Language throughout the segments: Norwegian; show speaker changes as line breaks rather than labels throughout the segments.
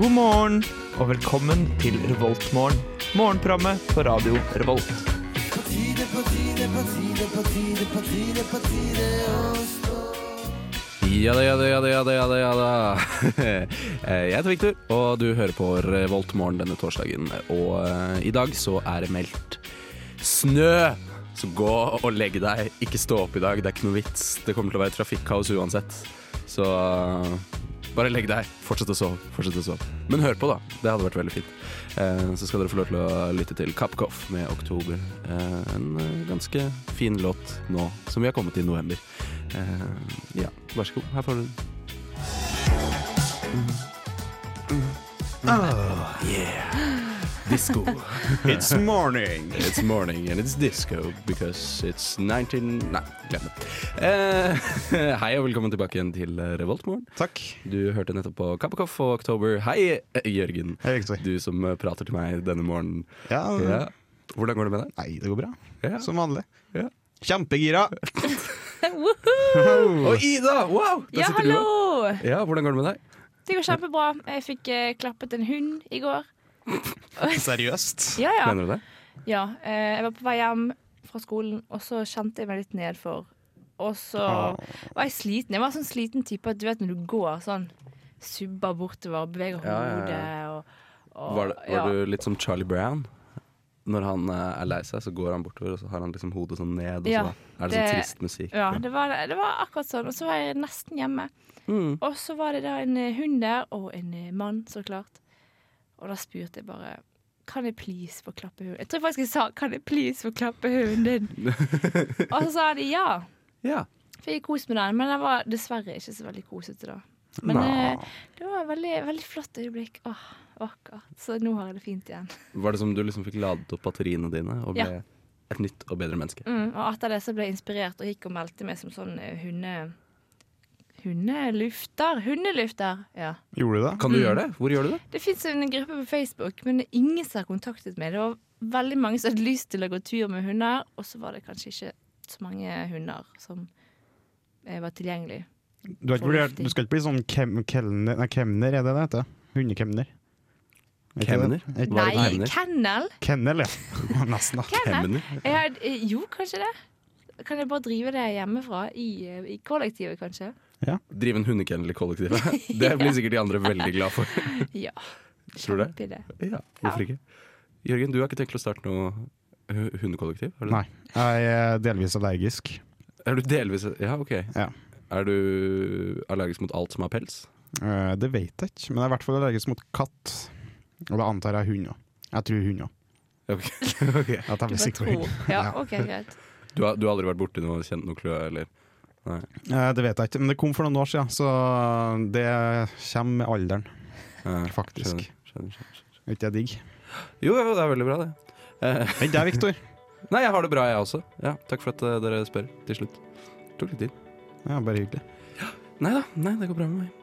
God morgen og velkommen til Revoltmorgen. Morgenprogrammet på radio Revolt.
Ja da, ja da, ja da, ja da, ja da, ja da. Eh, Jeg heter Victor, og du hører på Revolt morgen denne torsdagen. Og eh, i dag så er det meldt snø! Så gå og legg deg. Ikke stå opp i dag, det er ikke noe vits. Det kommer til å være trafikkaos uansett. Så eh, bare legg deg. Fortsett å sove. Fortsett å sove. Men hør på, da. Det hadde vært veldig fint. Eh, Så skal dere få lov til å lytte til Kapp Koff med Oktober. Eh, En eh, ganske fin låt nå som vi har kommet i november. Eh, ja, vær så god. Her får du den. yeah. Disco.
It's morning.
It's morning and it's disco because it's 19... Nei, glem det. Eh, hei og velkommen tilbake igjen til Revoltmorgen.
Takk.
Du hørte nettopp på Kappekoff og Oktober. Hei, eh, Jørgen.
Hei, Victor.
Du som eh, prater til meg denne morgenen.
Ja,
Mm.
Ja. Hvordan går det med deg?
Nei, det går bra.
Ja.
Som vanlig.
Ja.
Kjempegira!
Woohoo!
Og Ida! Wow! Der
Ja,
sitter du også.
hallo!
Ja, hvordan går det med deg?
Det går kjempebra. Jeg fikk eh, klappet en hund i går.
Seriøst.
Ja, ja.
Mener du det?
ja eh, jeg var på vei hjem fra skolen, og så kjente jeg meg litt nedfor. Og så
Ah.
var jeg sliten. Jeg var sånn sliten type at du vet når du går sånn, subber bortover, beveger
Ja, ja,
hodet
ja.
og, og
Var, det, var
ja.
du litt som Charlie Brown? Når han eh, er lei seg, så går han bortover, og så har han liksom hodet sånn ned, og
Ja,
så er det sånn
det-
trist musikk.
Ja, det var, det var akkurat sånn. Og så var jeg nesten hjemme.
Mm.
Og så var det da en eh, hund der, og en eh, mann, så klart. Og da spurte jeg bare Kan jeg please få klappe hunden? Jeg tror faktisk jeg sa Kan jeg please få klappe hunden din? og så sa de ja.
Ja.
Fikk kost med den, men den var dessverre ikke så veldig kosete da. Men
Nei.
eh, det var et veldig, veldig flott øyeblikk. Åh, vakkert. Så nå har jeg det fint igjen.
Var det som du liksom fikk ladet opp batteriene dine og ble
Ja.
et nytt og bedre menneske?
Mm, og etter det så ble jeg inspirert og gikk og meldte meg som sånn eh, hunde... Hundelufter. Hundelufter, ja.
Gjorde du det?
Kan du gjøre det? Hvor gjør du det?
Det fins en gruppe på Facebook, men det er ingen som har kontaktet meg. Det var veldig mange som hadde lyst til å gå tur med hunder, og så var det kanskje ikke så mange hunder som eh, var tilgjengelig.
Du, har ikke vurdert, du skal ikke bli sånn kem, kelner, nei, kemner, er det det heter? Hundekemner. Er ikke det?
Kemner?
Er ikke-
Hva er
Nei,
det kemner?
kennel!
Kennel, ja. Nesten, da.
Kennel.
Kemner?
Jeg had, eh, jo, kanskje det. Kan jeg bare drive det hjemmefra? I, eh, i kollektivet, kanskje?
Drive en hundekennel i kollektivet? Det blir sikkert de andre veldig glad for.
Ja.
Tror du det?
kjempeidé.
Ja, hvorfor ikke? Jørgen, du har ikke tenkt til å starte noe hu- hundekollektiv? har du?
Nei. Jeg er delvis allergisk.
Er du delvis Ja, OK.
Ja.
Er du allergisk mot alt som har pels?
Eh, Det vet jeg ikke, men jeg er i hvert fall allergisk mot katt. Og det antar jeg hund òg. Jeg tror hund òg.
Ok,
At
ok.
jeg
Du
vil
bare
sikre hund.
tror. Ja, OK, greit.
Du, har, du har aldri vært borti noe, kjent noe klø, eller?
Eh, Det vet jeg ikke, men det kom for noen år siden, så det kommer med alderen,
eh,
faktisk.
skjønner, skjønner, skjønner.
Er ikke det digg?
Jo, jo, det er veldig bra, det. Eh,
Men det er Viktor.
nei, jeg har det bra, jeg også. Ja, takk for at eh, dere spør til slutt. Tok litt tid.
Ja, bare hyggelig.
Nei da, nei, det går bra med meg.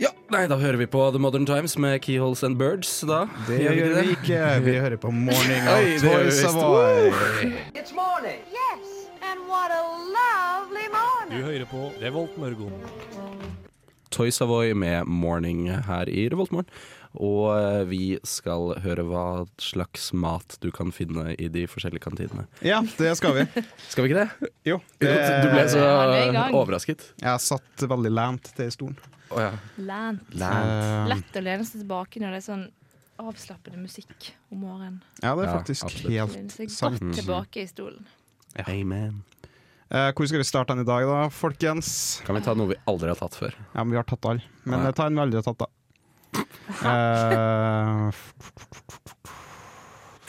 Ja, nei, da hører vi på The Modern Times med Keyholes and Birds, da.
Det
Gjør vi
gjør vi
det?
ikke. Vi hører på Morning
Oi,
of
det gjør vi
Toys
visst.
Savoy.
It's morning. Yes, and what a lovely morning.
Toy Savoy med 'Morning' her i Revoltmorgen. Og eh, vi skal høre hva slags mat du kan finne i de forskjellige kantinene.
Ja, det skal vi.
Skal vi ikke det?
Jo.
Du ble så
Ja, vi er i gang.
overrasket.
Jeg satt veldig lent til i stolen.
Å ja.
Lent.
Eh,
Lett å lene seg tilbake når det er sånn avslappende musikk om morgenen.
Ja, det er
Ja,
faktisk
absolutt.
Lene seg
helt sant.
godt tilbake i stolen.
Amen.
Eh, Hvor skal vi starte den i dag, da, folkens?
Kan vi ta noe vi aldri har tatt før?
Ja, men Vi har tatt alle. Men
Ja.
eh, ta en vi aldri har tatt, da. Eh,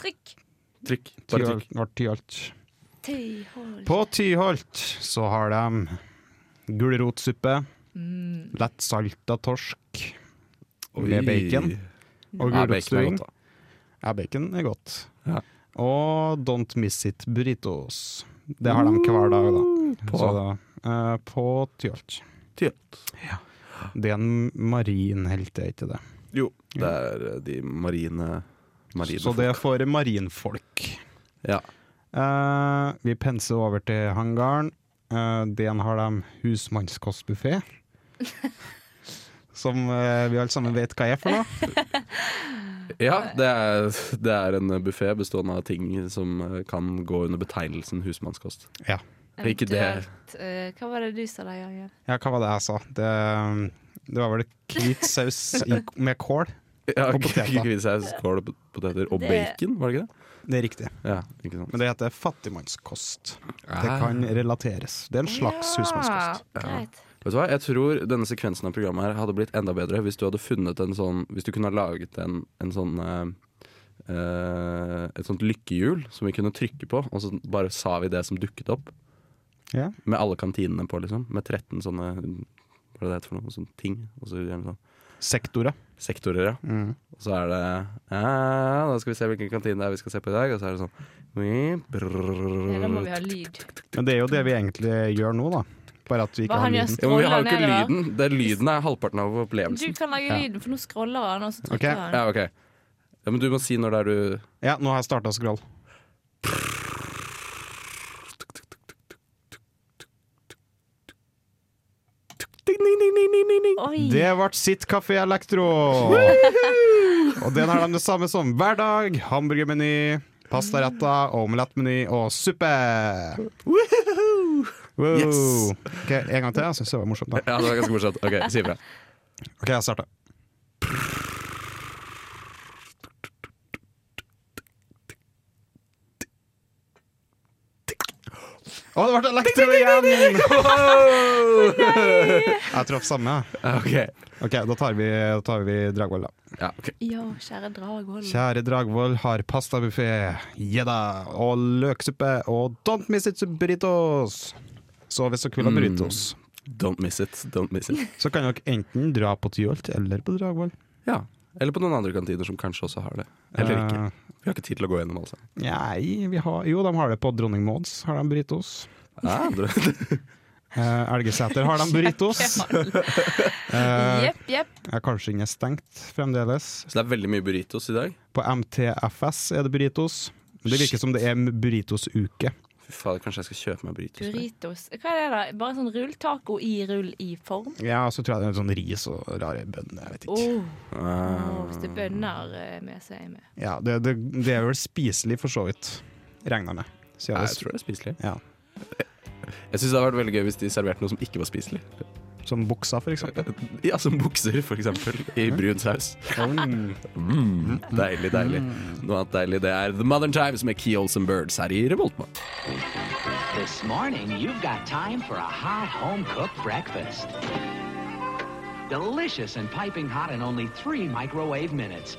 Trykk!
Trykk. Bare
Tyholt.
trykk.
Var Tyholt.
Tøyhold.
På Tyholt så har de gulrotsuppe,
Mm.
lett salta torsk
Oi.
med bacon. Og
Ja, bacon er
gulrotstuing.
godt, da.
Ja, bacon er godt.
Ja.
Og Don't Miss It Burritos. Det har de hver dag, da.
På-
Så da eh, på Tyholt.
Tyholt.
Det er en marinhelt, er ikke det?
Jo, det er eh, de marine Marine
Så det er for marinfolk.
Ja.
Eh, vi penser over til Eh, hangaren. Uh, den har de husmannskostbuffé. som eh, vi alle sammen vet hva er for noe.
Ja, det er, det er en buffé bestående av ting som eh, kan gå under betegnelsen husmannskost.
Ja.
Ikke det.
Eventuelt, eh, hva var det du sa da, Jørgen?
ja, hva var det jeg sa? Det, det var vel hvit saus i, med kål.
Ja,
Og poteter.
Kvinnsaus, kål og poteter. Og
Det-
bacon, var det ikke det?
Det er riktig.
Ja, ikke sant.
Men det heter fattigmannskost. Det
Ah.
kan relateres. Det er en slags husmannskost.
Ja, greit.
Vet du hva, jeg tror denne sekvensen av programmet her hadde blitt enda bedre hvis du hadde funnet en sånn Hvis du kunne ha laget en, en sånn eh, eh, Et sånt lykkehjul som vi kunne trykke på, og så bare sa vi det som dukket opp.
Ja.
Med alle kantinene på, liksom. Med 13 sånne Hva er det det heter for noe? Sånne ting. Og så gjerne sånn
Sektorer.
sektorer, ja.
Mm.
Og så er det ja, Da skal vi se hvilken kantine det er vi skal se på i dag. Og så er det sånn vi-
Ja, Da må vi ha lyd.
Men det er jo det vi egentlig gjør nå, da. Bare at vi ikke
Hva
har
han gjør
lyden.
Ja, men vi har jo
Scroller
ikke
nedover.
lyden. Det er lyden er halvparten av
Du
opplevelsen.
kan lage
Ja.
lyden, for nå scroller han, og så trykker
Ok.
han.
Ja, ok ja, Men du må si når det er du
Ja, nå har jeg starta å scrolle.
Oi!
Det ble sitt Kafé Elektro! og den har de det samme som hver dag. Hamburgermeny, pastaretta, omelettmeny og suppe! Wow.
Yes.
Ok, En gang til. Jeg syns det var morsomt. da
Ja, det var ganske morsomt. Ok, si ifra.
Ok, jeg starter. Å, det ble elektro igjen! Jeg traff samme. jeg.
Ja, Ok.
Ok, Da tar vi, da tar vi Dragvoll, da.
Ja, ok.
Ja, kjære Dragvoll.
Kjære Dragvoll har pastabuffé, jedda, og løksuppe og don't miss it burritos. Så hvis dere vil ha burritos,
Don't miss it. Don't miss it.
så kan dere enten dra på Tyholt eller på Dragvoll.
Ja. Eller på noen andre kantiner som kanskje også har det. Eller ikke. Vi har ikke tid til å gå gjennom alle sammen.
Eh, Nei, vi har, jo, de har det på Dronning Mauds. Har de burritos?
Ja, du-
Eh, Elgeseter har de burritos. Eh,
Jepp, jepp.
ja, kanskje den er stengt fremdeles.
Så det er veldig mye burritos i dag.
På MTFS er det burritos. Det virker som det er burritos-uke.
Fy fader, kanskje jeg skal kjøpe meg burritos.
Burritos. Hva er det, da? Bare sånn rulltaco i rull i form?
Ja, så tror jeg det er sånn ris og rare bønner. Jeg vet
Åh,
ikke.
Ah.
åh, hvis det er bønner eh, med seg med.
Ja, det, det, det er vel spiselig for så vidt, regner jeg med. Siden
Nei,
det
jeg tror det er spiselig.
Ja.
Jeg syns det hadde vært veldig gøy hvis de serverte noe som ikke var spiselig.
Som buksa, for eksempel.
Ja, Som bukser, for eksempel. I brun saus.
Mm.
Mm, deilig, deilig. Noe annet deilig det er The Modern Times med Keols and Birds her i Revoltmann.
This morning, you've got time for a hot home cooked breakfast. Delicious and piping hot in only three microwave minutes.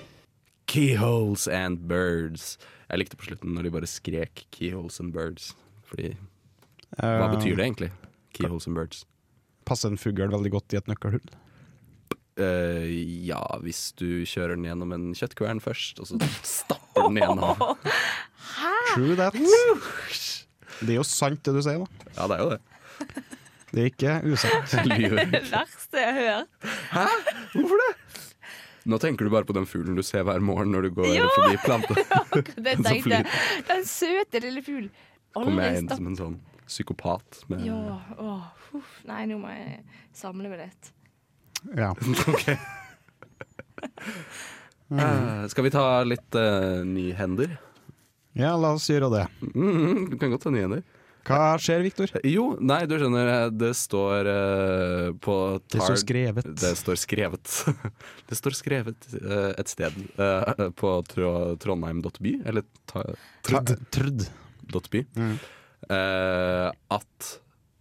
Keyholes and Birds. Jeg likte på slutten når de bare skrek 'Keyholes and Birds'. Fordi hva betyr det egentlig? Keyholes and Birds.
Eh, Passer en fugl veldig godt i et nøkkelhull?
Eh, ja, hvis du kjører den gjennom en kjøttkvern først, og så stapper den igjen. av.
True that. Det er jo sant, det du sier, da.
Ja, det er jo det.
Det er ikke usant.
Lyver.
Det verste jeg har hørt.
Hvorfor det? Nå tenker du bare på den fuglen du ser hver morgen når du går
Ja!
forbi planta.
Akkurat det jeg
Den som
tenkte. Den søte lille fuglen.
Kommer
Aldri
jeg inn
stapp...
som en sånn psykopat med
Ja, åh, huff. Nei, nå må jeg samle meg litt.
Ja.
Ok. Eh, skal vi ta litt eh, nyhender?
ja, la oss gjøre det.
Mm, du kan godt ta nyhender.
Hva skjer, Viktor?
Jo, nei, du skjønner, eh, det står eh, på
Det
Tar-
står skrevet.
Det står skrevet. det står skrevet eh, et sted eh, på tro, trondheim.by, eller ta,
Trud. Trud.
.by,
Mm.
eh, at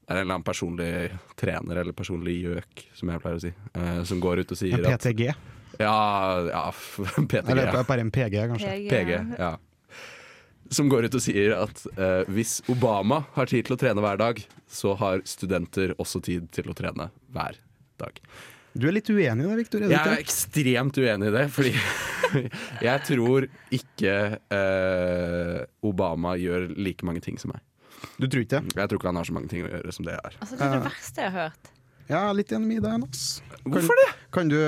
det er en eller annen personlig trener, eller personlig gjøk, som jeg pleier å si, eh, som går ut og sier
En
at
PTG?
Ja, ja, PTG.
Eller
ja.
bare en PG, kanskje.
Jeg, eh,
PG, ja. Som går ut og sier at eh, hvis Obama har tid til å trene hver dag, så har studenter også tid til å trene hver dag.
Du er litt uenig i det, Viktor.
Jeg er ekstremt uenig i det, fordi jeg tror ikke eh, Obama gjør like mange ting som meg.
Du tror ikke det?
Jeg tror ikke han har så mange ting å gjøre som det jeg har.
Altså, det er det verste jeg har hørt.
Ja, litt enig i deg, Nas.
Hvorfor det?
Kan du,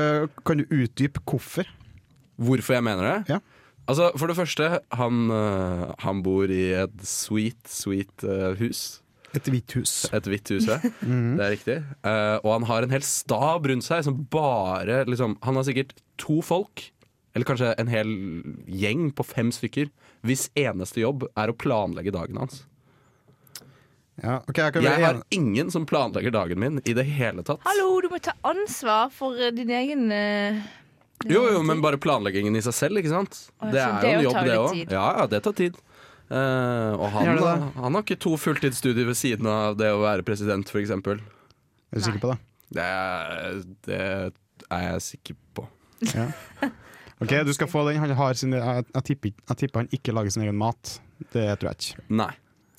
kan du utdype hvorfor?
Hvorfor jeg mener det?
Ja.
Altså, For det første, han, eh, han bor i et sweet, sweet eh, hus.
Et hvitt hus.
Et hvitt hus, ja.
Mhm.
Det er riktig. Eh, og han har en hel stab rundt seg som bare liksom, Han har sikkert to folk, eller kanskje en hel gjeng på fem stykker, hvis eneste jobb er å planlegge dagen hans.
Ja, ok, jeg kan
Jeg
være
har
enig.
ingen som planlegger dagen min i det hele tatt.
Hallo, du må ta ansvar for eh, din egen eh, din
Jo, jo,
egen tid.
men bare planleggingen i seg selv, ikke sant?
Å,
Det
så
er jo en
det
jobb,
tar
det
jo
òg.
litt tid.
Ja, ja, det tar tid. Eh, og han,
Gjør det det?
han har ikke to fulltidsstudier ved siden av det å være president, f.eks.
Er du sikker på det?
Det, er- det er jeg sikker på.
Ja. Ok, du skal få den. Han har sin, jeg, jeg, tipper, ikke- jeg tipper han ikke lager sin egen mat. Det tror jeg ikke.
Nei.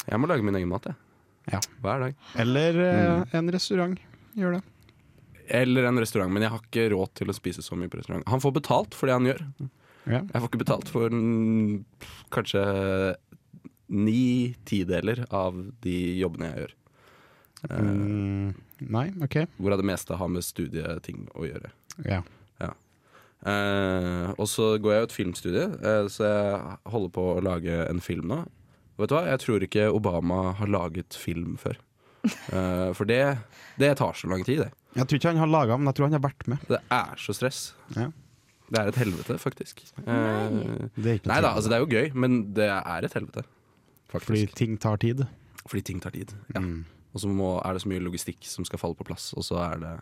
Jeg må lage min egen mat, jeg.
Ja.
Hver dag.
Eller eh,
Mm.
en restaurant gjør det.
Eller en restaurant, men jeg har ikke råd til å spise så mye på restaurant. Han får betalt for det han gjør.
Ja.
Jeg får ikke betalt for mm, kanskje ni tideler av de jobbene jeg gjør.
Mm, nei, OK.
Hvorav det meste har med studieting å gjøre.
Ja.
Eh, og så går jeg jo et filmstudie, eh, så jeg holder på å lage en film nå. Vet du hva, jeg tror ikke Obama har laget film før. Eh, for det, det tar så lang tid, det.
Jeg tror ikke han har laga, men jeg tror han har vært med.
Det er så stress.
Ja.
Det er et helvete, faktisk. Eh,
Det er ikke noe
nei da,
tvil.
altså det er jo gøy, men det er et helvete.
Fordi
Faktisk. Fordi,
ting tar tid. Mm.
ting tar tid. Ja. Og så må- er det så mye logistikk som skal falle på plass, og så er det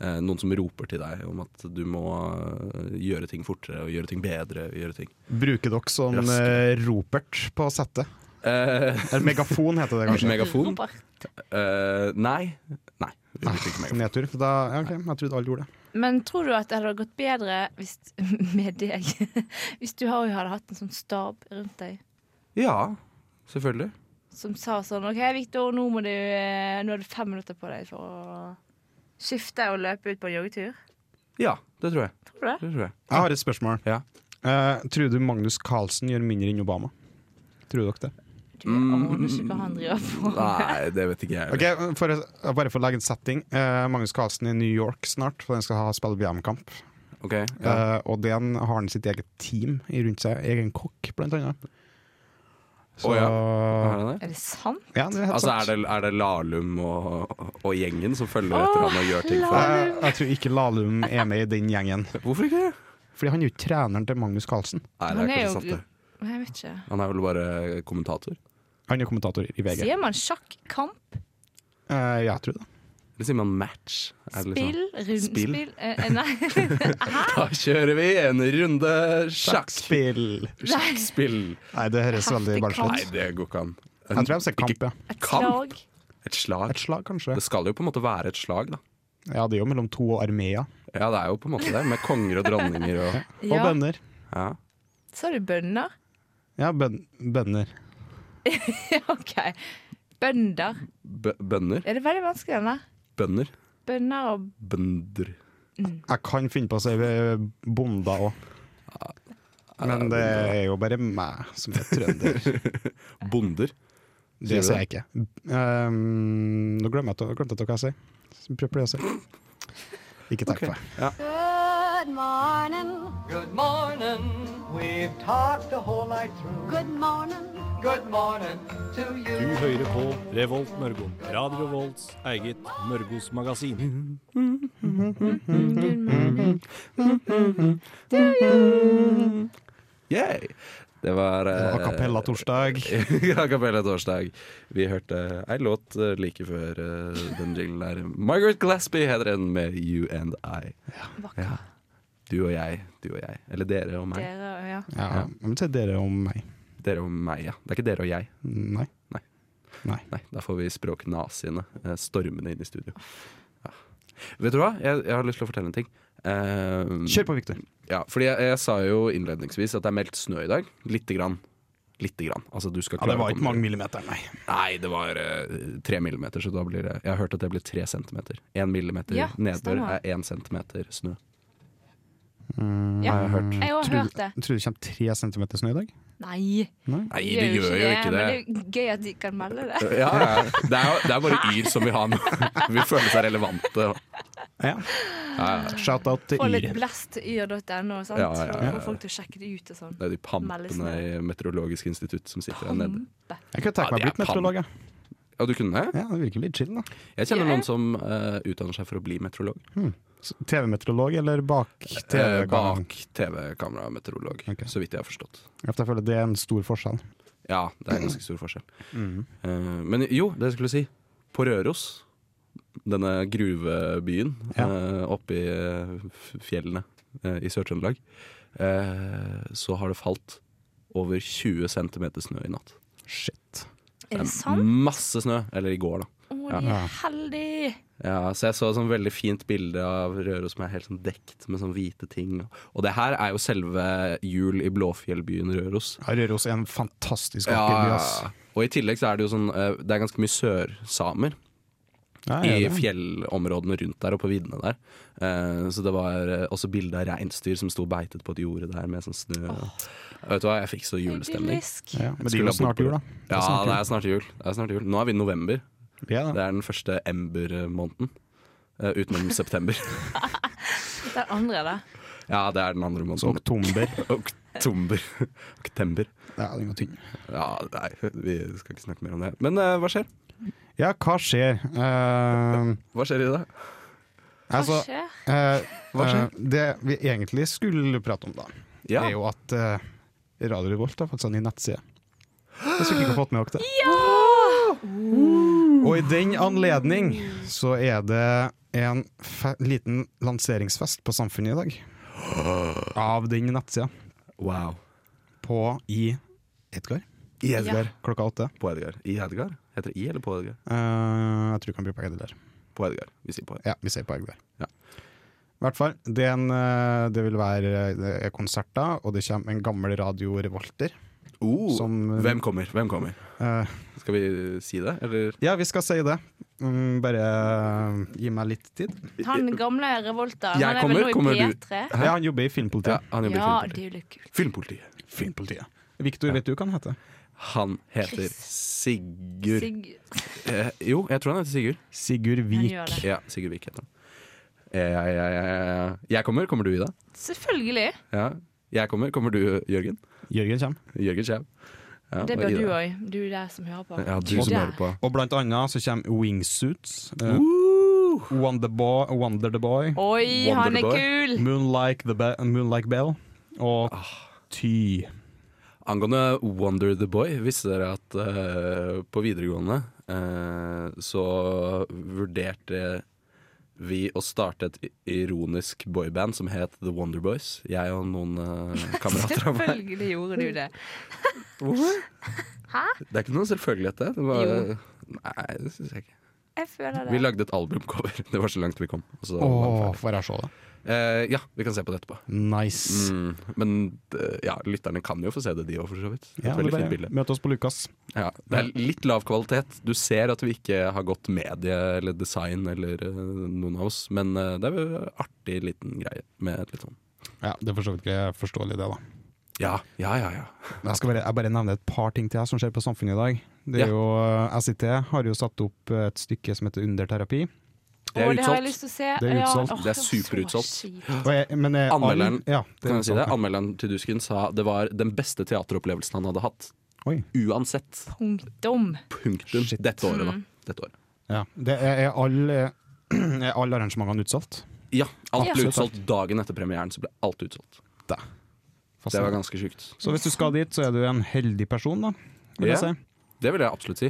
eh, noen som roper til deg om at du må eh, gjøre ting fortere og gjøre ting bedre. og Gjøre ting.
Bruker dere sånn
Rask.
eh, ropert på settet?
Eh,
Eller megafon heter det kanskje.
megafon?
Robert.
Eh, nei. Nei. Vi brukte ikke megafon.
Nedtur. Da, ja, ok, jeg trodde alle gjorde det.
Men tror du at det hadde gått bedre hvis, med deg hvis du hadde hadde hatt en sånn stab rundt deg
Ja, selvfølgelig.
som sa sånn OK, Victor, nå, må du, eh, nå har du fem minutter på deg for å skifte og løpe ut på en joggetur?
Ja, det tror jeg.
Tror du det?
Det tror jeg.
Jeg har et spørsmål.
Ja.
Eh, tror du Magnus Carlsen gjør mindre enn Obama? Tror dere det?
Du
Mm.
aner ikke hva han driver på
Nei, det vet ikke jeg.
Ok, for, å- Bare for å legge en setting. Eh, Magnus Carlsen er i New York snart, for han skal ha spille VM-kamp.
Ok, ja.
Eh, og den har han sitt eget team i rundt seg. Egen kokk, blant annet. Så
Å,
ja.
Er det det?
Er det sant?
det er helt
Altså, er
sant.
det, er det Lahlum og, og gjengen som følger etter han og gjør ting for ham?
Eh, jeg tror ikke Lahlum er med i den gjengen.
Hvorfor ikke det?
Fordi han er jo ikke treneren til Magnus Carlsen.
Nei, det er
Han er
kanskje
jo-
sant, det.
Nei, Jeg vet ikke.
Han er vel bare kommentator.
Han er kommentator i VG.
Sier man sjakk-kamp?
Eh, ja, jeg tror det.
Eller sier man match? Er det liksom-
Spill?
Spill?
Rundspill? Eh, eh, nei.
Da kjører vi en runde sjakk.
Sjakkspill!
Sjakkspill.
Nei, det høres veldig barnslig
Nei,
ut.
det går ikke an.
Jeg tror jeg ser kamp, ja.
Et
Kamp?
slag?
Et slag?
Et slag, kanskje.
Det skal jo på en måte være et slag, da.
Ja, det er jo mellom to og armeer.
Ja, det er jo på en måte det, med konger og dronninger og
Og bønder.
ja.
Sa du bønder?
Ja, bøn bønder.
OK. Bønder.
Bø- Bønder?
Er det veldig vanskelig, den der?
Bønder?
Bønder og
Bønder.
Jeg kan finne på å si eh, bonder òg. Men det er jo bare meg som er trønder.
Bonder?
Det
Sier du
sier jeg ikke. Um, nå glemmer jeg til- glemte jeg hva jeg sier. Så Prøv prøv å si. Ikke tenk på det.
Good morning.
Good morning. We've talked the whole night through.
Good morning.
Good morning to you.
Du hører på Revolt Mørgo. Radio Revolts eget Mørgos magasin.
Yay! Det var eh,
A cappella torsdag.
A cappella torsdag. Vi hørte ei låt eh, like før eh, den jinglen der. Margaret Glassby heter den, med You and I.
vakker.
Du og jeg, du og jeg. Eller dere og meg.
Dere og ja.
Ja, jeg vil si dere om meg.
Dere og meg, ja. Det er ikke dere og jeg.
Nei.
Nei.
Nei.
Nei, da får vi språknaziene eh, stormende inn i studio. Ja. Vet du hva? Jeg, jeg har lyst til å fortelle en ting. Eh,
Kjør på, Victor.
Ja, fordi jeg, jeg sa jo innledningsvis at det er meldt snø i dag. Lite grann. Lite grann. Altså, du skal
Ja, det
klare å
var ikke
komme
mange
deg-
millimeter, nei.
Nei, det var eh, tre millimeter, så da blir det Jeg har hørt at det blir tre centimeter. Én millimeter
Ja,
nedbør
stemmer.
er én centimeter snø.
ja.
Jeg Mm, har hørt.
Jeg har
Tror
hørt
du
det.
tror du det kommer tre centimeter snø i dag?
Nei.
Nei,
de
det gjør jo ikke det.
Men det er gøy at de kan melde det.
Ja, ja. Det er, jo- det er bare Yr som vil ha noe. Vil føle seg relevante.
Ja.
Ja, ja.
Shout-out til
Få litt
Yr.
blest i yr.no, sant?
Ja, ja, ja, ja.
Få folk til å sjekke det ut og sånn.
Det er de
Meldes
pampene i Meteorologisk institutt som sitter der nede.
Pampe.
Jeg kunne tenke
Ja,
meg å
det
bli
er
meteorolog, jeg.
Ja, du kunne det?
Ja, det virker litt chill, da.
Jeg kjenner
Ja.
noen som eh, utdanner seg for å bli meteorolog.
Så TV-meteorolog eller bak
Eh,
TV-kameraen?
bak TV-kamerameteorolog,
Ok.
så vidt jeg har forstått.
Jeg føler det er en stor forskjell.
Ja, det er ganske stor forskjell.
Mm-hmm.
Eh, men jo, det jeg skulle si. På Røros, denne gruvebyen
Ja.
eh, oppe i eh, f- fjellene eh, i Sør-Trøndelag, eh, så har det falt over 20 cm snø i natt.
Shit.
Er det
Det er
sant?
Masse snø. Eller i går, da.
Å, de er heldige!
Ja, så jeg så et sånn veldig fint bilde av Røros som er helt sånn dekt med sånn hvite ting. Og det her er jo selve jul i Blåfjellbyen Røros.
Ja, Røros er en fantastisk
Ja,
vakker by, ass.
Og i tillegg så er det jo sånn eh, Det er ganske mye sørsamer
Ja,
i
jeg er det.
fjellområdene rundt der og på viddene der. Eh, Så det var eh, også bilde av reinsdyr som sto beitet på et jorde der med sånn snø. Vet du hva, jeg fikk så julestemning.
Idyllisk.
Ja, men det
Skulle
er jo
ha
snart
bodd på
jul, da.
Ja,
snart
det er snart jul. Det er snart jul. Nå er vi i november.
Vi er
Det
det.
er den første ember-måneden. eh, Utenom september.
Den andre, da?
Ja, det er den andre
Så
måneden.
oktober.
Oktober. Oktember.
Ja, den var tynn.
Ja, nei, vi skal ikke snakke mer om det. Men eh, hva skjer?
Ja, hva skjer? Eh,
Hva skjer i dag?
Hva
altså,
skjer?
eh,
Hva skjer?
eh, det vi egentlig skulle prate om, da,
Ja.
er jo at eh, Radio Revolt har faktisk en ny nettside. Hvis dere ikke har fått med dere det. Og i den anledning så er det en fe liten lanseringsfest på Samfunnet i dag. Av den nettsida.
Wow.
På i Edgar.
I
Edgar.
Klokka åtte.
På Edgar. I Edgar? Heter det I eller på Edgar?
Eh, jeg tror vi kan bruke begge deler.
På Edgar. Vi sier på Edgar.
Ja, vi ser på Edgar.
Ja.
I hvert fall, det, er en, eh, det vil være eh, konserter, og det kommer en gammel Radio Revolter.
Oh,
Som-
hvem kommer? Hvem kommer?
Eh,
Skal vi si det, eller?
ja, vi skal si det. Mm, bare eh, gi meg litt tid.
Han gamle revolta.
Jeg
Han er
kommer,
vel nå
kommer
i
du?
P3?
Ja, han jobber i
Ja,
filmpolitiet.
han jobber i
Ja, det
filmpolitiet.
er jo litt kult.
Filmpolitiet.
Filmpolitiet. Victor, vet du hva han heter?
Han heter
Chris.
Sigurd
Sigurd.
eh, Jo, jeg tror han heter Sigurd.
Sigurd
Han
Vik.
gjør det.
Ja, Sigurd Vik heter han. Eh, Jeg, jeg, jeg, jeg kommer. Kommer du, Ida?
Selvfølgelig.
Ja. Jeg kommer. Kommer du, Jørgen?
Jørgen kommer.
Jørgen Schau. Ja,
Det
og
bør
Ida.
du òg. Du der som hører på.
Ja, du som
Der.
hører på.
Og blant annet så kommer Wingsuits. eh, Wonder, Boy, Wonder the Boy.
Oi, han er
Wonderboy.
kul!
Moonlike, the Be- Moonlike Bell. Og Ty.
Angående Wonder the Boy, visste dere at eh, på videregående eh, så vurderte vi å starte et ironisk boyband som het The Wonder Boys. Jeg og noen eh, kamerater av meg.
Selvfølgelig gjorde du det.
Det er ikke noe selvfølgelighet, det. det var,
Jo.
Nei, det syns jeg ikke.
Jeg føler
Vi
det.
lagde et albumcover. Det var så langt vi kom. Og så var vi
Åh,
ferdig.
får jeg se det?
Eh, ja, vi kan se på det etterpå.
Nice.
Mm, men eh, ja, lytterne kan jo få se det, de òg, for så vidt. Det er
Ja,
et
det
veldig
er
fint bilde.
bare møt oss på Lukas.
Ja, det er litt lav kvalitet. Du ser at vi ikke har gått medie eller design eller eh, noen av oss, men eh, det er jo en artig liten greie med litt sånn
Ja, Det er for så vidt ikke forståelig, det, da.
Ja, ja, ja. ja.
Men Jeg skal bare, jeg bare nevne et par ting til jeg som skjer på Samfunnet i dag. Det er
Ja.
jo, eh, SIT har jo satt opp eh, et stykke som heter Underterapi.
Det er
Å, det har jeg
utsolgt.
lyst til å se.
Det er
Ja,
utsolgt.
åh,
Det er
var så
superutsolgt.
kjipt.
Og jeg, men jeg,
Anmelderen-
all- ja, det
Kan
er sånn-
jeg si det?
sant.
Anmelderen til Dusken sa det var den beste teateropplevelsen han hadde hatt.
Oi.
Uansett.
Punktum.
Punktum.
Shit.
Dette året, da. Dette året.
Ja, det er, er alle er alle arrangementene utsolgt?
Ja, alt
Ja.
ble utsolgt dagen etter premieren. Så ble alt utsolgt.
Da.
Det var ganske sjukt.
Så hvis du skal dit, så er du en heldig person, da. Vil
Ja.
jeg si.
Det vil jeg absolutt si.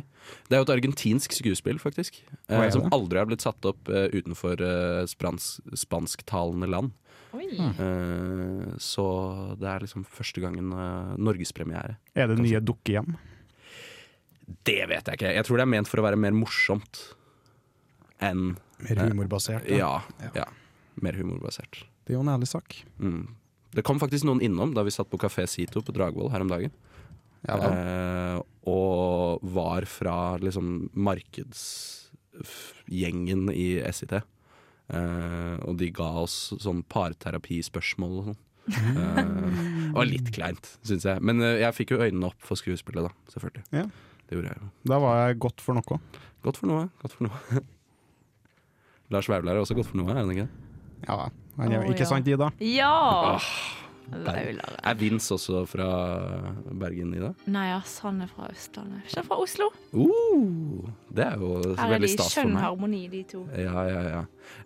Det er jo et argentinsk skuespill, faktisk.
Hva
Eh,
er
som
det?
aldri har blitt satt opp eh, utenfor eh, sprans- spansktalende land.
Oi.
Eh, så det er liksom første gangen eh, norgespremiere.
Er det nye dukkehjem?
Det vet jeg ikke. Jeg tror det er ment for å være mer morsomt enn
Mer humorbasert? da.
Ja. ja mer humorbasert.
Det er jo en ærlig sak.
Mm. Det kom faktisk noen innom da vi satt på Kafé Sito på Dragvoll her om dagen.
Ja, vel.
eh, og var fra liksom markedsgjengen i SIT. Eh, og de ga oss sånn parterapispørsmål og sånn. Eh, det var litt kleint, syns jeg. Men eh, jeg fikk jo øynene opp for skuespillet, da. Selvfølgelig.
Ja.
Det gjorde jeg jo.
Da var jeg godt for noe.
Godt for noe. Godt for noe. Lars Vaular er også godt for noe, er han ikke det?
Ja, han er,
Å,
ikke
ja.
sant, Ida?
Ja! Laulere.
Er Vince også fra Bergen i dag?
Nei, ass, han er fra Østlandet. Ikke fra Oslo.
Uh, det er jo
Her er
veldig
de i
stas for
skjønn
meg.
harmoni, de to.
Ja, ja, ja.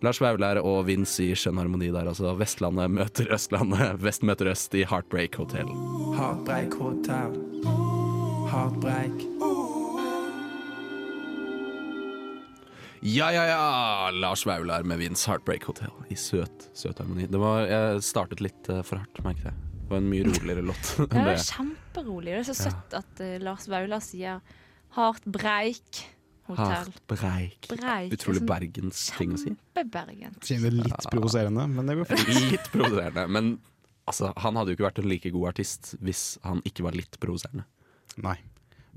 Lars Vaular og Vince i skjønn harmoni der, altså. Vestlandet møter Østlandet, Vest møter Øst i Heartbreak Hotel.
Heartbreak Hotel. Heartbreak.
Ja, ja, ja! Lars Vaular med Vince Heartbreak Hotel i søt, søt harmoni. Det var, jeg startet litt eh, for hardt, merket jeg. Det var en mye roligere låt. enn
Ja, det
det.
er kjemperolig. Det er så søtt at eh, Lars Vaular sier hardt breik hotell.
Heartbreak.
Breik. sånn
Utrolig Bergens ting å si.
Kjempebergent.
Kjenner det litt provoserende, men det går fint.
Litt provoserende. Men altså, han hadde jo ikke vært en like god artist hvis han ikke var litt provoserende. Sånn,
Nei.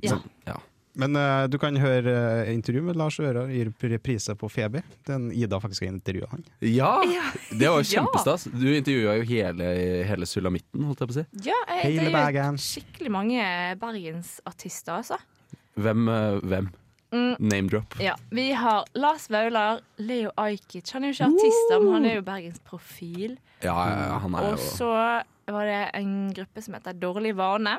Ja.
Ja.
Men eh, du kan høre eh, intervju med Lars Ørar i reprise på Feber. Den Ida faktisk har intervjua han.
ja! Det var jo
Ja.
kjempestas. Du intervjua jo hele, hele sulamitten, holdt jeg på å si.
Ja, jeg
Hele Bergen.
intervjuet skikkelig mange bergensartister, altså.
Hvem? eh, hvem?
Mm.
Name-drop.
Ja, Vi har Lars Vaular, Leo Ajkic. Han er jo ikke artist, men han er jo bergensprofil.
Ja, ja, ja, han er
Og
jo
så var det en gruppe som heter Dårlig vane.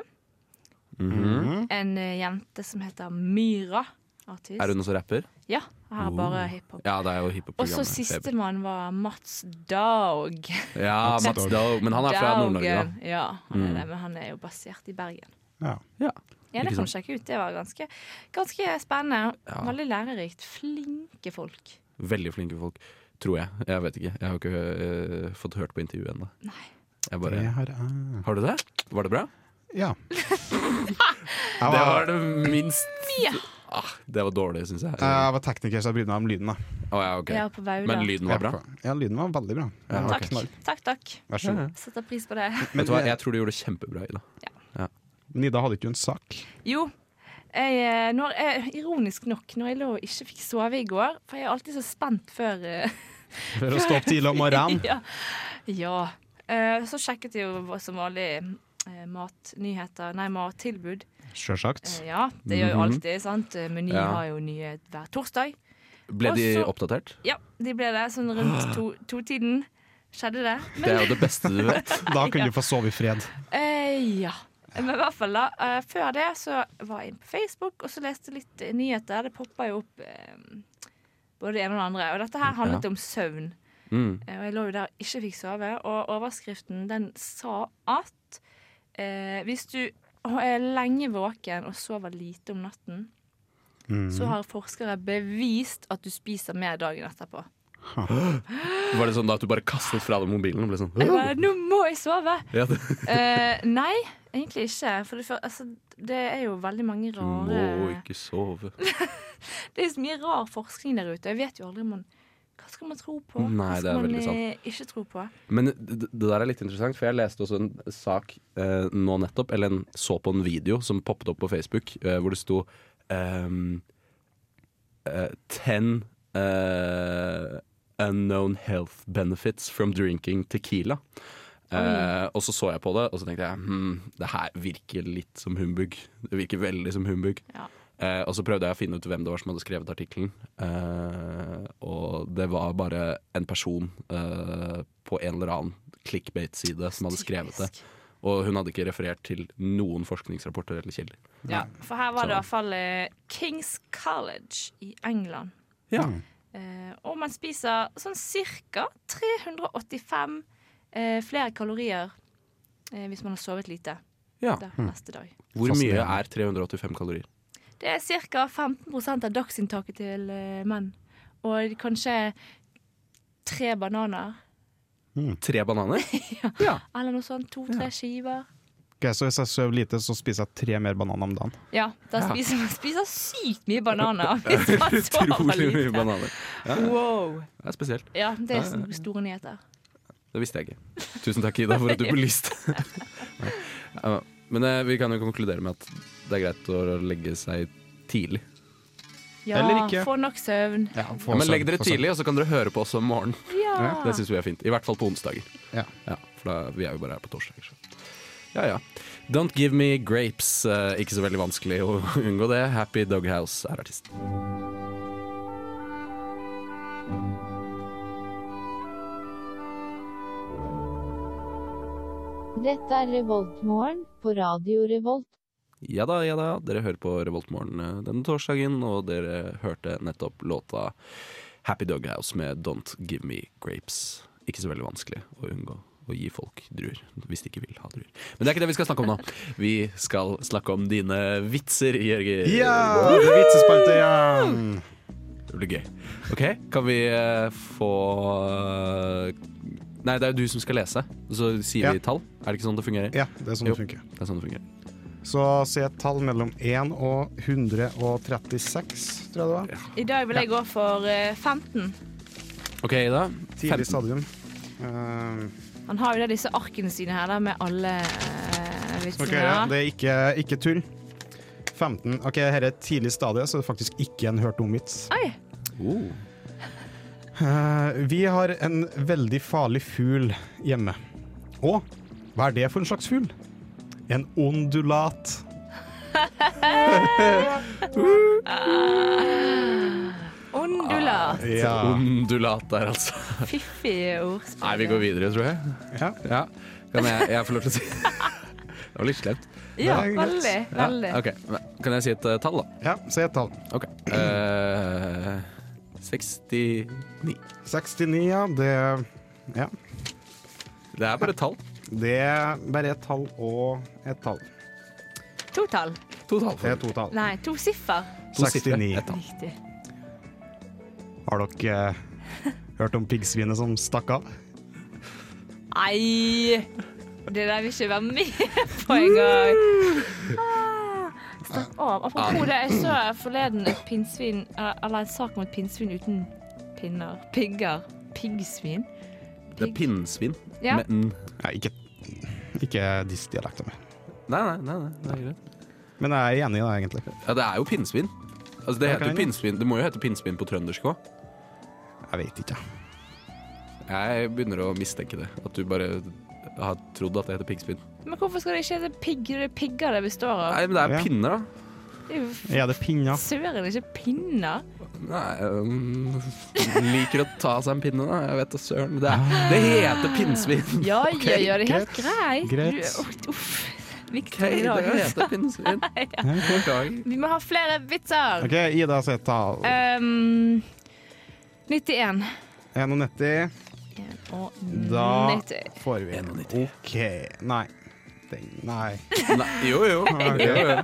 En eh, jente som heter Myra. Artist.
Mhm. Er hun også rapper?
Ja, her er bare hiphop.
Ja, det er jo
Og så
hiphop-programmet. Feber.
sistemann var Mats Daug.
Ja,
Mats
Mats
Daug.
Daug. Men han er fra
Daugen.
Nord-Norge, da. Mm.
Ja, han er det, men han er jo basert i Bergen.
Ja.
Ja.
Ja, Det
Ikke
kan du sjekke ut. Det var ganske, ganske spennende.
Ja.
Veldig lærerikt. Flinke folk.
Veldig flinke folk. Tror jeg. Jeg vet ikke. Jeg har ikke eh, fått hørt på intervjuet ennå. Jeg
Det
bare-
her er
Har du det? Var det bra?
Ja. Jeg
Det var
var,
det minst
Ja.
ah, Det var dårlig, syns jeg. Å
jeg var tekniker, så jeg brydde meg om lyden. da
ja, ok.
Ja, på Vaular.
Men lyden var bra?
Ja, lyden var veldig bra. Den var
Takk.
knall.
takk, takk.
Vær så god.
Setter pris på det.
Vet du hva, Jeg tror du gjorde det kjempebra, Ida.
Men Ida eh, hadde ikke en sak.
Jo, jeg, eh, når jeg, ironisk nok, når jeg lå og ikke fikk sove i går For jeg er alltid så spent før eh,
For å stå opp tidlig om morgenen.
Ja. ja. Eh, Så sjekket jeg jo som vanlig eh, matnyheter Nei, mattilbud.
Sjølsagt.
Eh, Ja, det gjør jo alltid, sant. Eh, Meny
Mhm. Ja.
har jo nye hver torsdag.
Ble de
Også-
oppdatert?
Ja, de ble det sånn rundt to- totiden. Skjedde det?
Det er jo det beste du vet.
Da kunne du få sove i fred.
Eh, ja. Men i hvert fall da, eh, før det så var jeg inne på Facebook og så leste jeg litt eh, nyheter. Det poppa jo opp eh, både det ene og det andre. Og dette her handlet
Ja.
om søvn.
Mm.
Eh, Og jeg lå jo der og ikke fikk sove. Og overskriften den sa at eh, hvis du er lenge våken og sover lite om natten,
Mm.
så har forskere bevist at du spiser mer dagen etterpå.
Var det sånn da at du bare kastet fra deg mobilen og ble sånn
Jeg bare, Nå må jeg sove!
ja, det.
Eh, nei, egentlig ikke. For det, fyr- altså, det er jo veldig mange
Du må
rare
ikke sove.
Det er så mye rar forskning der ute. Jeg vet jo aldri om man Hva skal man tro på?
Nei,
Hva
det er
skal man
veldig sant.
eh, ikke tro på?
Men det, det der er litt interessant, for jeg leste også en sak eh, nå nettopp, eller en, så på en video som poppet opp på Facebook, eh, hvor det sto ehm, eh, 10 eh, unknown health benefits from drinking tequila. Eh, og så så jeg på det, og så tenkte jeg hm, det her virker litt som humbug. Det virker veldig som humbug.
Ja.
Eh, og så prøvde jeg å finne ut hvem det var som hadde skrevet artikkelen. Eh, og det var bare en person eh, på en eller annen clickbait-side som hadde skrevet det.
Typisk.
Og hun hadde ikke referert til noen forskningsrapporter eller kilder.
Ja, for her var det i
Så-
hvert fall eh, Kings College i England.
Ja.
Eh, og man spiser sånn ca. 385 eh, flere kalorier eh, hvis man har sovet lite
Ja. Mm.
der, neste dag.
Hvor mye er 385 kalorier?
Det er ca. 15 av dagsinntaket til eh, menn. Og kanskje tre bananer.
Tre bananer?
Eller noe sånt. To-tre skiver.
Ok, så hvis jeg sover lite, så spiser jeg tre mer bananer om dagen.
Ja, da spiser man spiser sykt mye bananer hvis man sover
Utrolig mye
lite.
bananer.
Wow.
Det er spesielt.
Ja, det er sn- store nyheter.
Det visste jeg ikke. Tusen takk, Ida, for at du belyste. Ja, Men eh, vi kan jo konkludere med at det er greit å legge seg tidlig.
Ja,
Eller ikke.
få nok søvn.
Ja,
Ja, men legg dere tidlig, og så kan dere høre på oss om morgenen.
Ja.
Det syns vi er fint. I hvert fall på onsdager.
Ja.
Ja, for da, vi er jo bare her på torsdager. så. Ja, ja. Don't give me grapes. eh, ikke så veldig vanskelig å unngå det. Happy Doghouse er artisten.
Dette er Revoltmorgen på Radio Revolt.
Ja da, ja da, dere hører på Revoltmorgen eh, denne torsdagen, og dere hørte nettopp låta Happy Doghouse med Don't Give Me Grapes. Ikke så veldig vanskelig å unngå å gi folk druer, hvis de ikke vil ha druer. Men det er ikke det vi skal snakke om nå. Vi skal snakke om dine vitser, Jørgen.
Ja! det er Vitsespalte igjen!
Det blir gøy. OK, kan vi eh, få eh, Nei, det er jo du som skal lese, og så sier
Ja.
vi tall. Er det ikke sånn det fungerer?
Ja, det er sånn
Jo.
det funker.
Det er sånn det fungerer.
Så si et tall mellom 1 og 136, tror jeg det var.
I dag vil jeg gå for eh, 15.
OK, Ida.
Tidlig
15.
stadium. Eh,
Han har jo da disse arkene sine her da, med alle eh,
Som
vitsene.
dere hører,
da.
det er ikke, ikke tull. 15. Ok, her er et tidlig stadie, så det er faktisk ikke en hørt om vits.
Oi!
Oh.
Eh, vi har en veldig farlig fugl hjemme. Og hva er det for en slags fugl? En ondulat.
Ondulat.
Ja.
Ondulat der, altså.
Fiffige ordspill.
Nei, vi går videre, tror jeg.
Ja.
Ja. Kan jeg, jeg få lov til å si Det var litt slemt.
Ja,
Det er greit.
veldig.
Ja,
veldig.
ok. Men Kan jeg si et eh, tall, da?
ja, si et tall.
OK. Eh, 69.
69, ja. Det, ja.
Det er bare tall.
det er bare et tall og et tall.
To tall.
To tall.
Det er to tall.
Nei, to siffer.
To sifre,
69.
et tall.
Riktig.
Har dere eh, hørt om piggsvinet som stakk av?
Nei! Det der vil ikke være med på engang. Ah, Slapp av. Apropos det, jeg så forleden et pinnsvin eh, Eller en sak om et pinnsvin uten pinner. Pigger. Piggsvin.
Det er pinnsvin.
Ja.
Med n.
Nei, ikke, ikke diss-dialekta mi.
Nei, nei, nei, nei, det er greit.
Men jeg er enig i det, egentlig.
Ja, det er jo pinnsvin. Altså, det
Ja,
heter
kan
jo
jeg-
pinnsvin. Det må jo hete pinnsvin på trøndersk òg.
Jeg vet ikke.
Jeg begynner å mistenke det. At du bare har trodd at det heter piggsvin.
Men hvorfor skal det ikke hete pigg? Det er pigger det består av.
Nei, men det er
Ja.
pinner, da.
Det er jo f-
Er det pinner?
Søren, ikke pinner.
Nei, øhm, liker å ta seg en pinne, da. Jeg vet da søren. Det, er- det heter pinnsvin.
Ja, ja, ja, det er helt greit.
greit.
Du- uff, Uff. Viktig
Ok,
i dag.
det heter pinnsvin. Beklager.
Vi må ha flere vitser.
OK, Ida sier et tall.
Um, 91.
91.
Og
Da
90.
får vi
91.
OK. Nei. Den, nei.
Nei, jo, jo.
Ok.
jo, jo.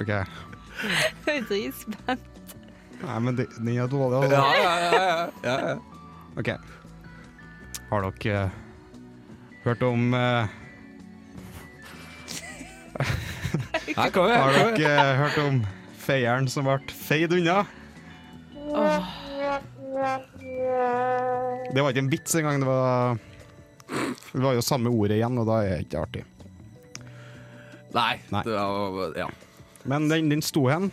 OK.
Jeg er dritspent.
Nei, men de- den er dårlig.
Ja,
Altså.
ja, ja, ja, ja, ja.
OK. Har dere eh, hørt om eh,
Her kommer jeg.
Har
her kommer jeg.
dere eh, hørt om feieren som ble feid unna? Det var ikke en vits engang. Det var Det var jo samme ordet igjen, og da er det ikke artig.
Nei.
Nei.
Det var, ja.
Men den, den sto hen.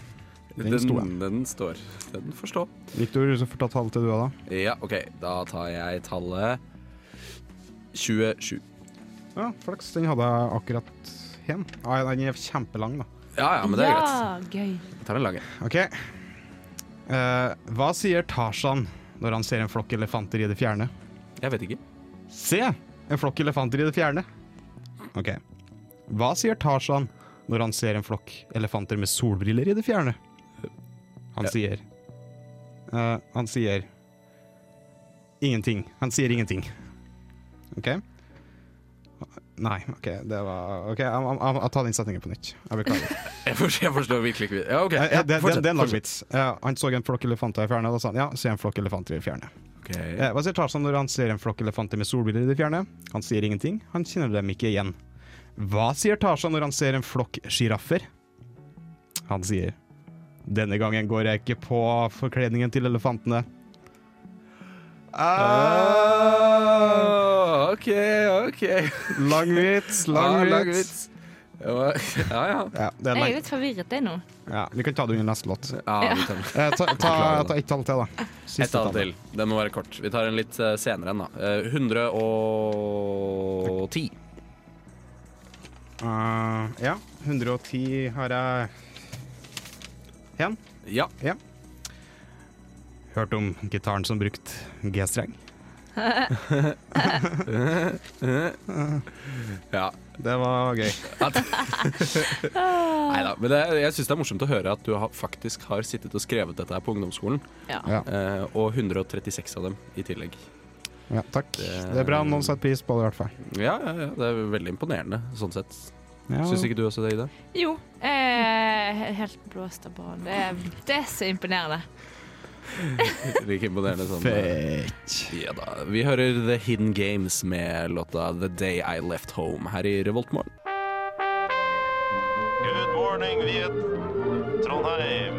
Den sto
Den, den står. Den får stå.
Victor, så får ta tall til du òg, da.
Ja, OK. Da tar jeg tallet 27.
Ja, flaks. Den hadde jeg akkurat hen. Nei, den er kjempelang, da.
Ja, ja, men det er greit.
gøy.
Jeg tar en lang en.
OK. Eh, hva sier Tarzan når han ser en flokk elefanter i det fjerne?
Jeg vet ikke.
Se! En flokk elefanter i det fjerne. OK. Hva sier Tarzan når han ser en flokk elefanter med solbriller i det fjerne? Han
Ja.
sier eh, Han sier ingenting. Han sier ingenting. OK? Nei, OK, det var OK, jeg, jeg, jeg, jeg tar den setningen på nytt. Jeg beklager.
Jeg forstår, jeg forstår virkelig ikke Ja, OK.
Ja, ja, det, det,
fortsett,
det er en lang
fortsett.
vits. Ja, han så en flokk elefanter i fjerne, og da sa han ja, se en flokk elefanter i fjerne.
Ok.
Eh, hva sier Tarzan når han ser en flokk elefanter med solbriller i det fjerne? Han sier ingenting, han kjenner dem ikke igjen. Hva sier Tarzan når han ser en flokk sjiraffer? Han sier denne gangen går jeg ikke på forkledningen til elefantene.
Ah, OK, OK.
Lang vits, lang
Ah,
vits.
lang vits. Ja, ja. ja.
Ja, det er
Jeg er
lang.
litt forvirret jeg nå.
Ja, vi kan ta det under neste låt.
ja Ah, vi tar den.
Eh, ta, ta,
Beklager det.
ta ett tall til, da. Siste
Et tall til. Den må være kort. Vi tar en litt eh, senere en, da. Eh, 110.
Eh, ja, 110 har jeg igjen.
Ja.
Hørt om gitaren som brukt G-streng?
Ja.
Det var gøy.
Nei da. Men det, jeg syns det er morsomt å høre at du har, faktisk har sittet og skrevet dette her på ungdomsskolen.
Ja.
Ja.
eh, Og 136 av dem i tillegg.
Ja, takk. Det er bra. Noen setter pris på det, i hvert fall.
Ja, ja, ja. Det er veldig imponerende sånn sett.
Ja.
Syns ikke du også det, Ida?
Jo. Eh, helt blåst av banen. Det, er- det er så imponerende.
Like imponerende som eh,
Fett.
Ja da. Vi hører The Hidden Games med låta The Day I Left Home her i Revoltmorgen.
Good morning, Viet. Trondheim.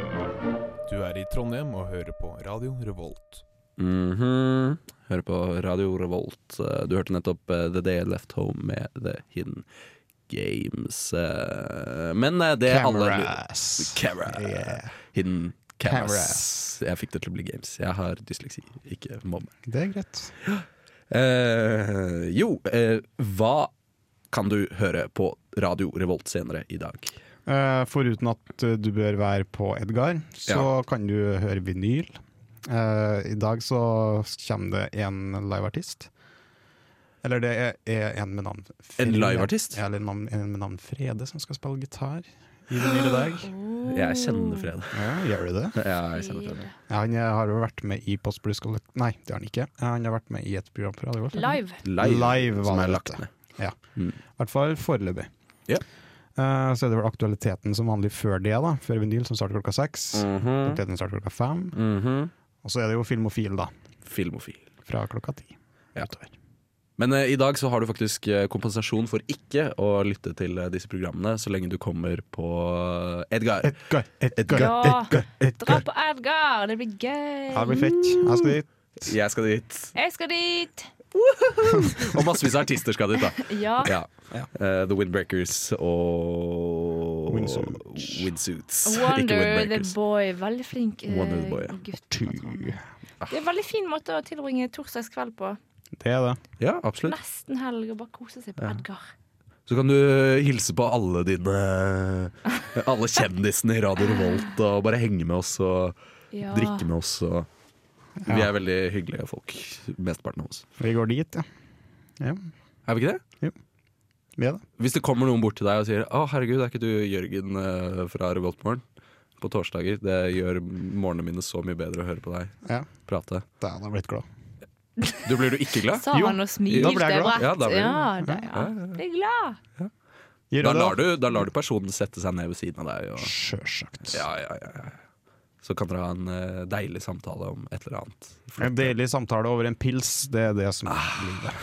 Du er i Trondheim og hører på Radio Revolt.
Mhm. Hører på Radio Revolt. Eh, Du hørte nettopp eh, The Day I Left Home med The Hidden Games. Eh, Men eh, det
Cameras.
alle Camera.
Yeah.
Hidden cameras.
Cameras.
Jeg fikk det til å bli games. Jeg har dysleksi, ikke mobbe.
Det er greit.
Eh, jo, eh, hva kan du høre på Radio Revolt senere i dag?
Eh, foruten at eh, du bør være på Edgar, så kan du høre vinyl. Eh, I dag så kommer det en liveartist. Eller det er, er en med navn Fred-
En liveartist?
Ja, eller en, navn- en med navn Frede som skal spille gitar i vinyl i dag.
Jeg kjenner fred.
Ja, gjør du det?
Ja, jeg kjenner fred.
Ja, han eh, har jo vært med i Postblues Collect... Nei, det har han ikke. Han har vært med i et program for Radio Revolt.
Live.
Live,
Live
som
var
er
det
lagt
dette.
ned.
Ja.
Mm.
I hvert fall foreløpig.
Ja.
Eh, så er det vel aktualiteten som vanlig før det, da. Før vinyl, som starter klokka seks. Aktualiteten starter klokka fem.
Mhm.
Og så er det jo Filmofil, da.
Filmofil.
Fra klokka ti.
Ja. Men eh, i dag så har du faktisk eh, kompensasjon for ikke å lytte til eh, disse programmene, så lenge du kommer på eh, Edgar.
Edgar, Edgar,
Ja, dra på Edgar! Det blir gøy.
Ja, det blir fett.
Jeg skal dit.
Jeg skal dit.
Jeg skal dit!
Og massevis av artister skal dit, da.
Ja.
Eh, the Windbreakers og Windsuits. Ikke
Wonder the
Windbreakers.
Boy. Veldig flink eh,
Wonder the Boy, ja.
gutt. Det er en veldig fin måte å tilbringe torsdagskveld på.
Det er det.
Ja, absolutt.
Nesten helg og bare kose seg på
Ja.
Edgar.
Så kan du hilse på alle dine Alle kjendisene i Radio Revolt og bare henge med oss og
Ja.
drikke med oss. Og vi er veldig hyggelige folk, mesteparten av oss.
Vi går dit, ja. ja.
Er vi ikke det?
Jo. Vi er det.
Hvis det kommer noen bort til deg og sier 'Å, herregud, er ikke du Jørgen eh, fra Revoltmorgen?' På torsdager. Det gjør morgenene mine så mye bedre å høre på deg
Ja.
prate.
Da hadde jeg blitt glad.
Du Blir du ikke glad?
Sa han og smilte bredt.
Ja,
Ja,
da blir du-
da- ja. Blir glad.
Da lar, du, da lar du personen sette seg ned ved siden av deg. Og,
Sjølsagt.
ja, ja, ja, ja. Så kan dere ha en eh, deilig samtale om et eller annet.
En deilig samtale over en pils, det er det som er
Ah.
livet.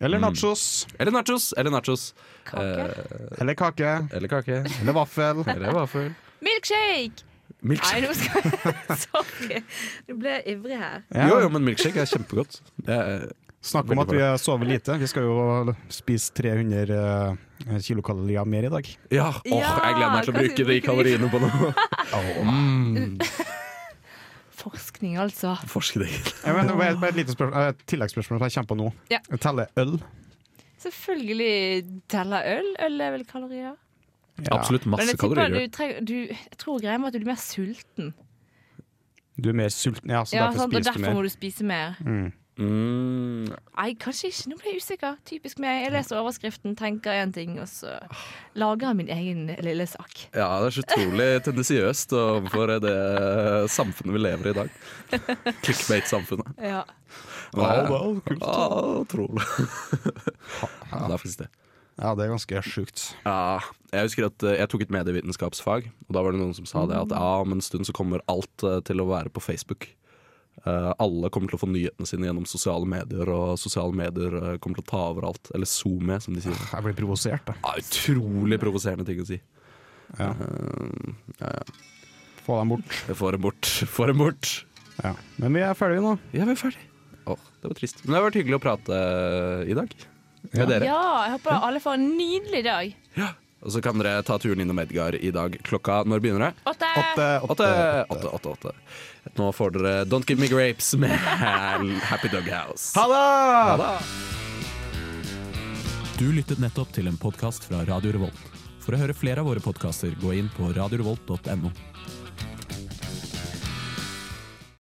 Eller
Mm.
nachos.
Eller nachos. Eller nachos.
Eh,
Eh,
Eller kake.
Eller kake.
Eller vaffel.
Eller vaffel.
Milkshake!
Milkshake.
Nei, nå skal jeg Sorry. Nå ble jeg ivrig her.
Jo, jo, men milkshake er kjempegodt. Det er
Snakk om
veldig
at vi sover lite. Vi skal jo spise 300 eh, kilokalorier mer i dag.
Ja! Åh, jeg gleder meg til å
Ja,
bruke de
hva sier du?
kaloriene på noe. Mm,
Forskning, altså.
forskning.
Ja, men, bare bare et lite spørsmål, et tilleggsspørsmål som jeg kommer på nå.
Ja.
Teller øl?
Selvfølgelig teller øl. Øl er vel kalorier?
Absolutt
Men
masse
jeg, tipper
kalorier.
du trenger, du, jeg tror greia med at du blir mer sulten.
Du er mer sulten, ja, så
ja,
derfor
sant? Og
spiser du
derfor må
mer.
du spise mer.
Mm.
Mm,
Nei, kanskje ikke. Nå ble jeg usikker. Typisk meg. Jeg leser overskriften, tenker én ting, og så lager jeg min egen lille sak.
ja, det er så utrolig tendensiøst overfor det samfunnet vi lever i i dag. Clickbait-samfunnet.
Ja.
Ja, det er kult.
Ja, utrolig. Ah, Ja, det er faktisk det.
Ja, det er ganske sjukt.
Ja, jeg husker at eh, jeg tok et medievitenskapsfag, og da var det noen som sa det at ja, om en stund så kommer alt eh, til å være på Facebook. Eh, alle kommer til å få nyhetene sine gjennom sosiale medier, og sosiale medier eh, kommer til å ta over alt. Eller zoome, som de sier.
Jeg blir provosert, da.
Ja, Ah, utrolig provoserende ting å si.
Ja.
Eh, ja, ja.
Få dem bort.
Jeg får dem bort. Får dem bort.
Ja. Men vi er ferdige nå.
Ja, vi er ferdig. Åh, det var trist. Men det har vært hyggelig å prate eh, i dag med dere.
ja, jeg håper alle får en nydelig dag.
Og så kan dere ta turen innom Edgar i dag. Klokka når begynner det?
Åtte!
Åtte, åtte, åtte, åtte. Nå får dere Don't Give Me Grapes med Happy Dog House.
Ha det!
Du lyttet nettopp til en podkast fra Radio Revolt. For å høre flere av våre podkaster, gå inn på radiorevolt.no.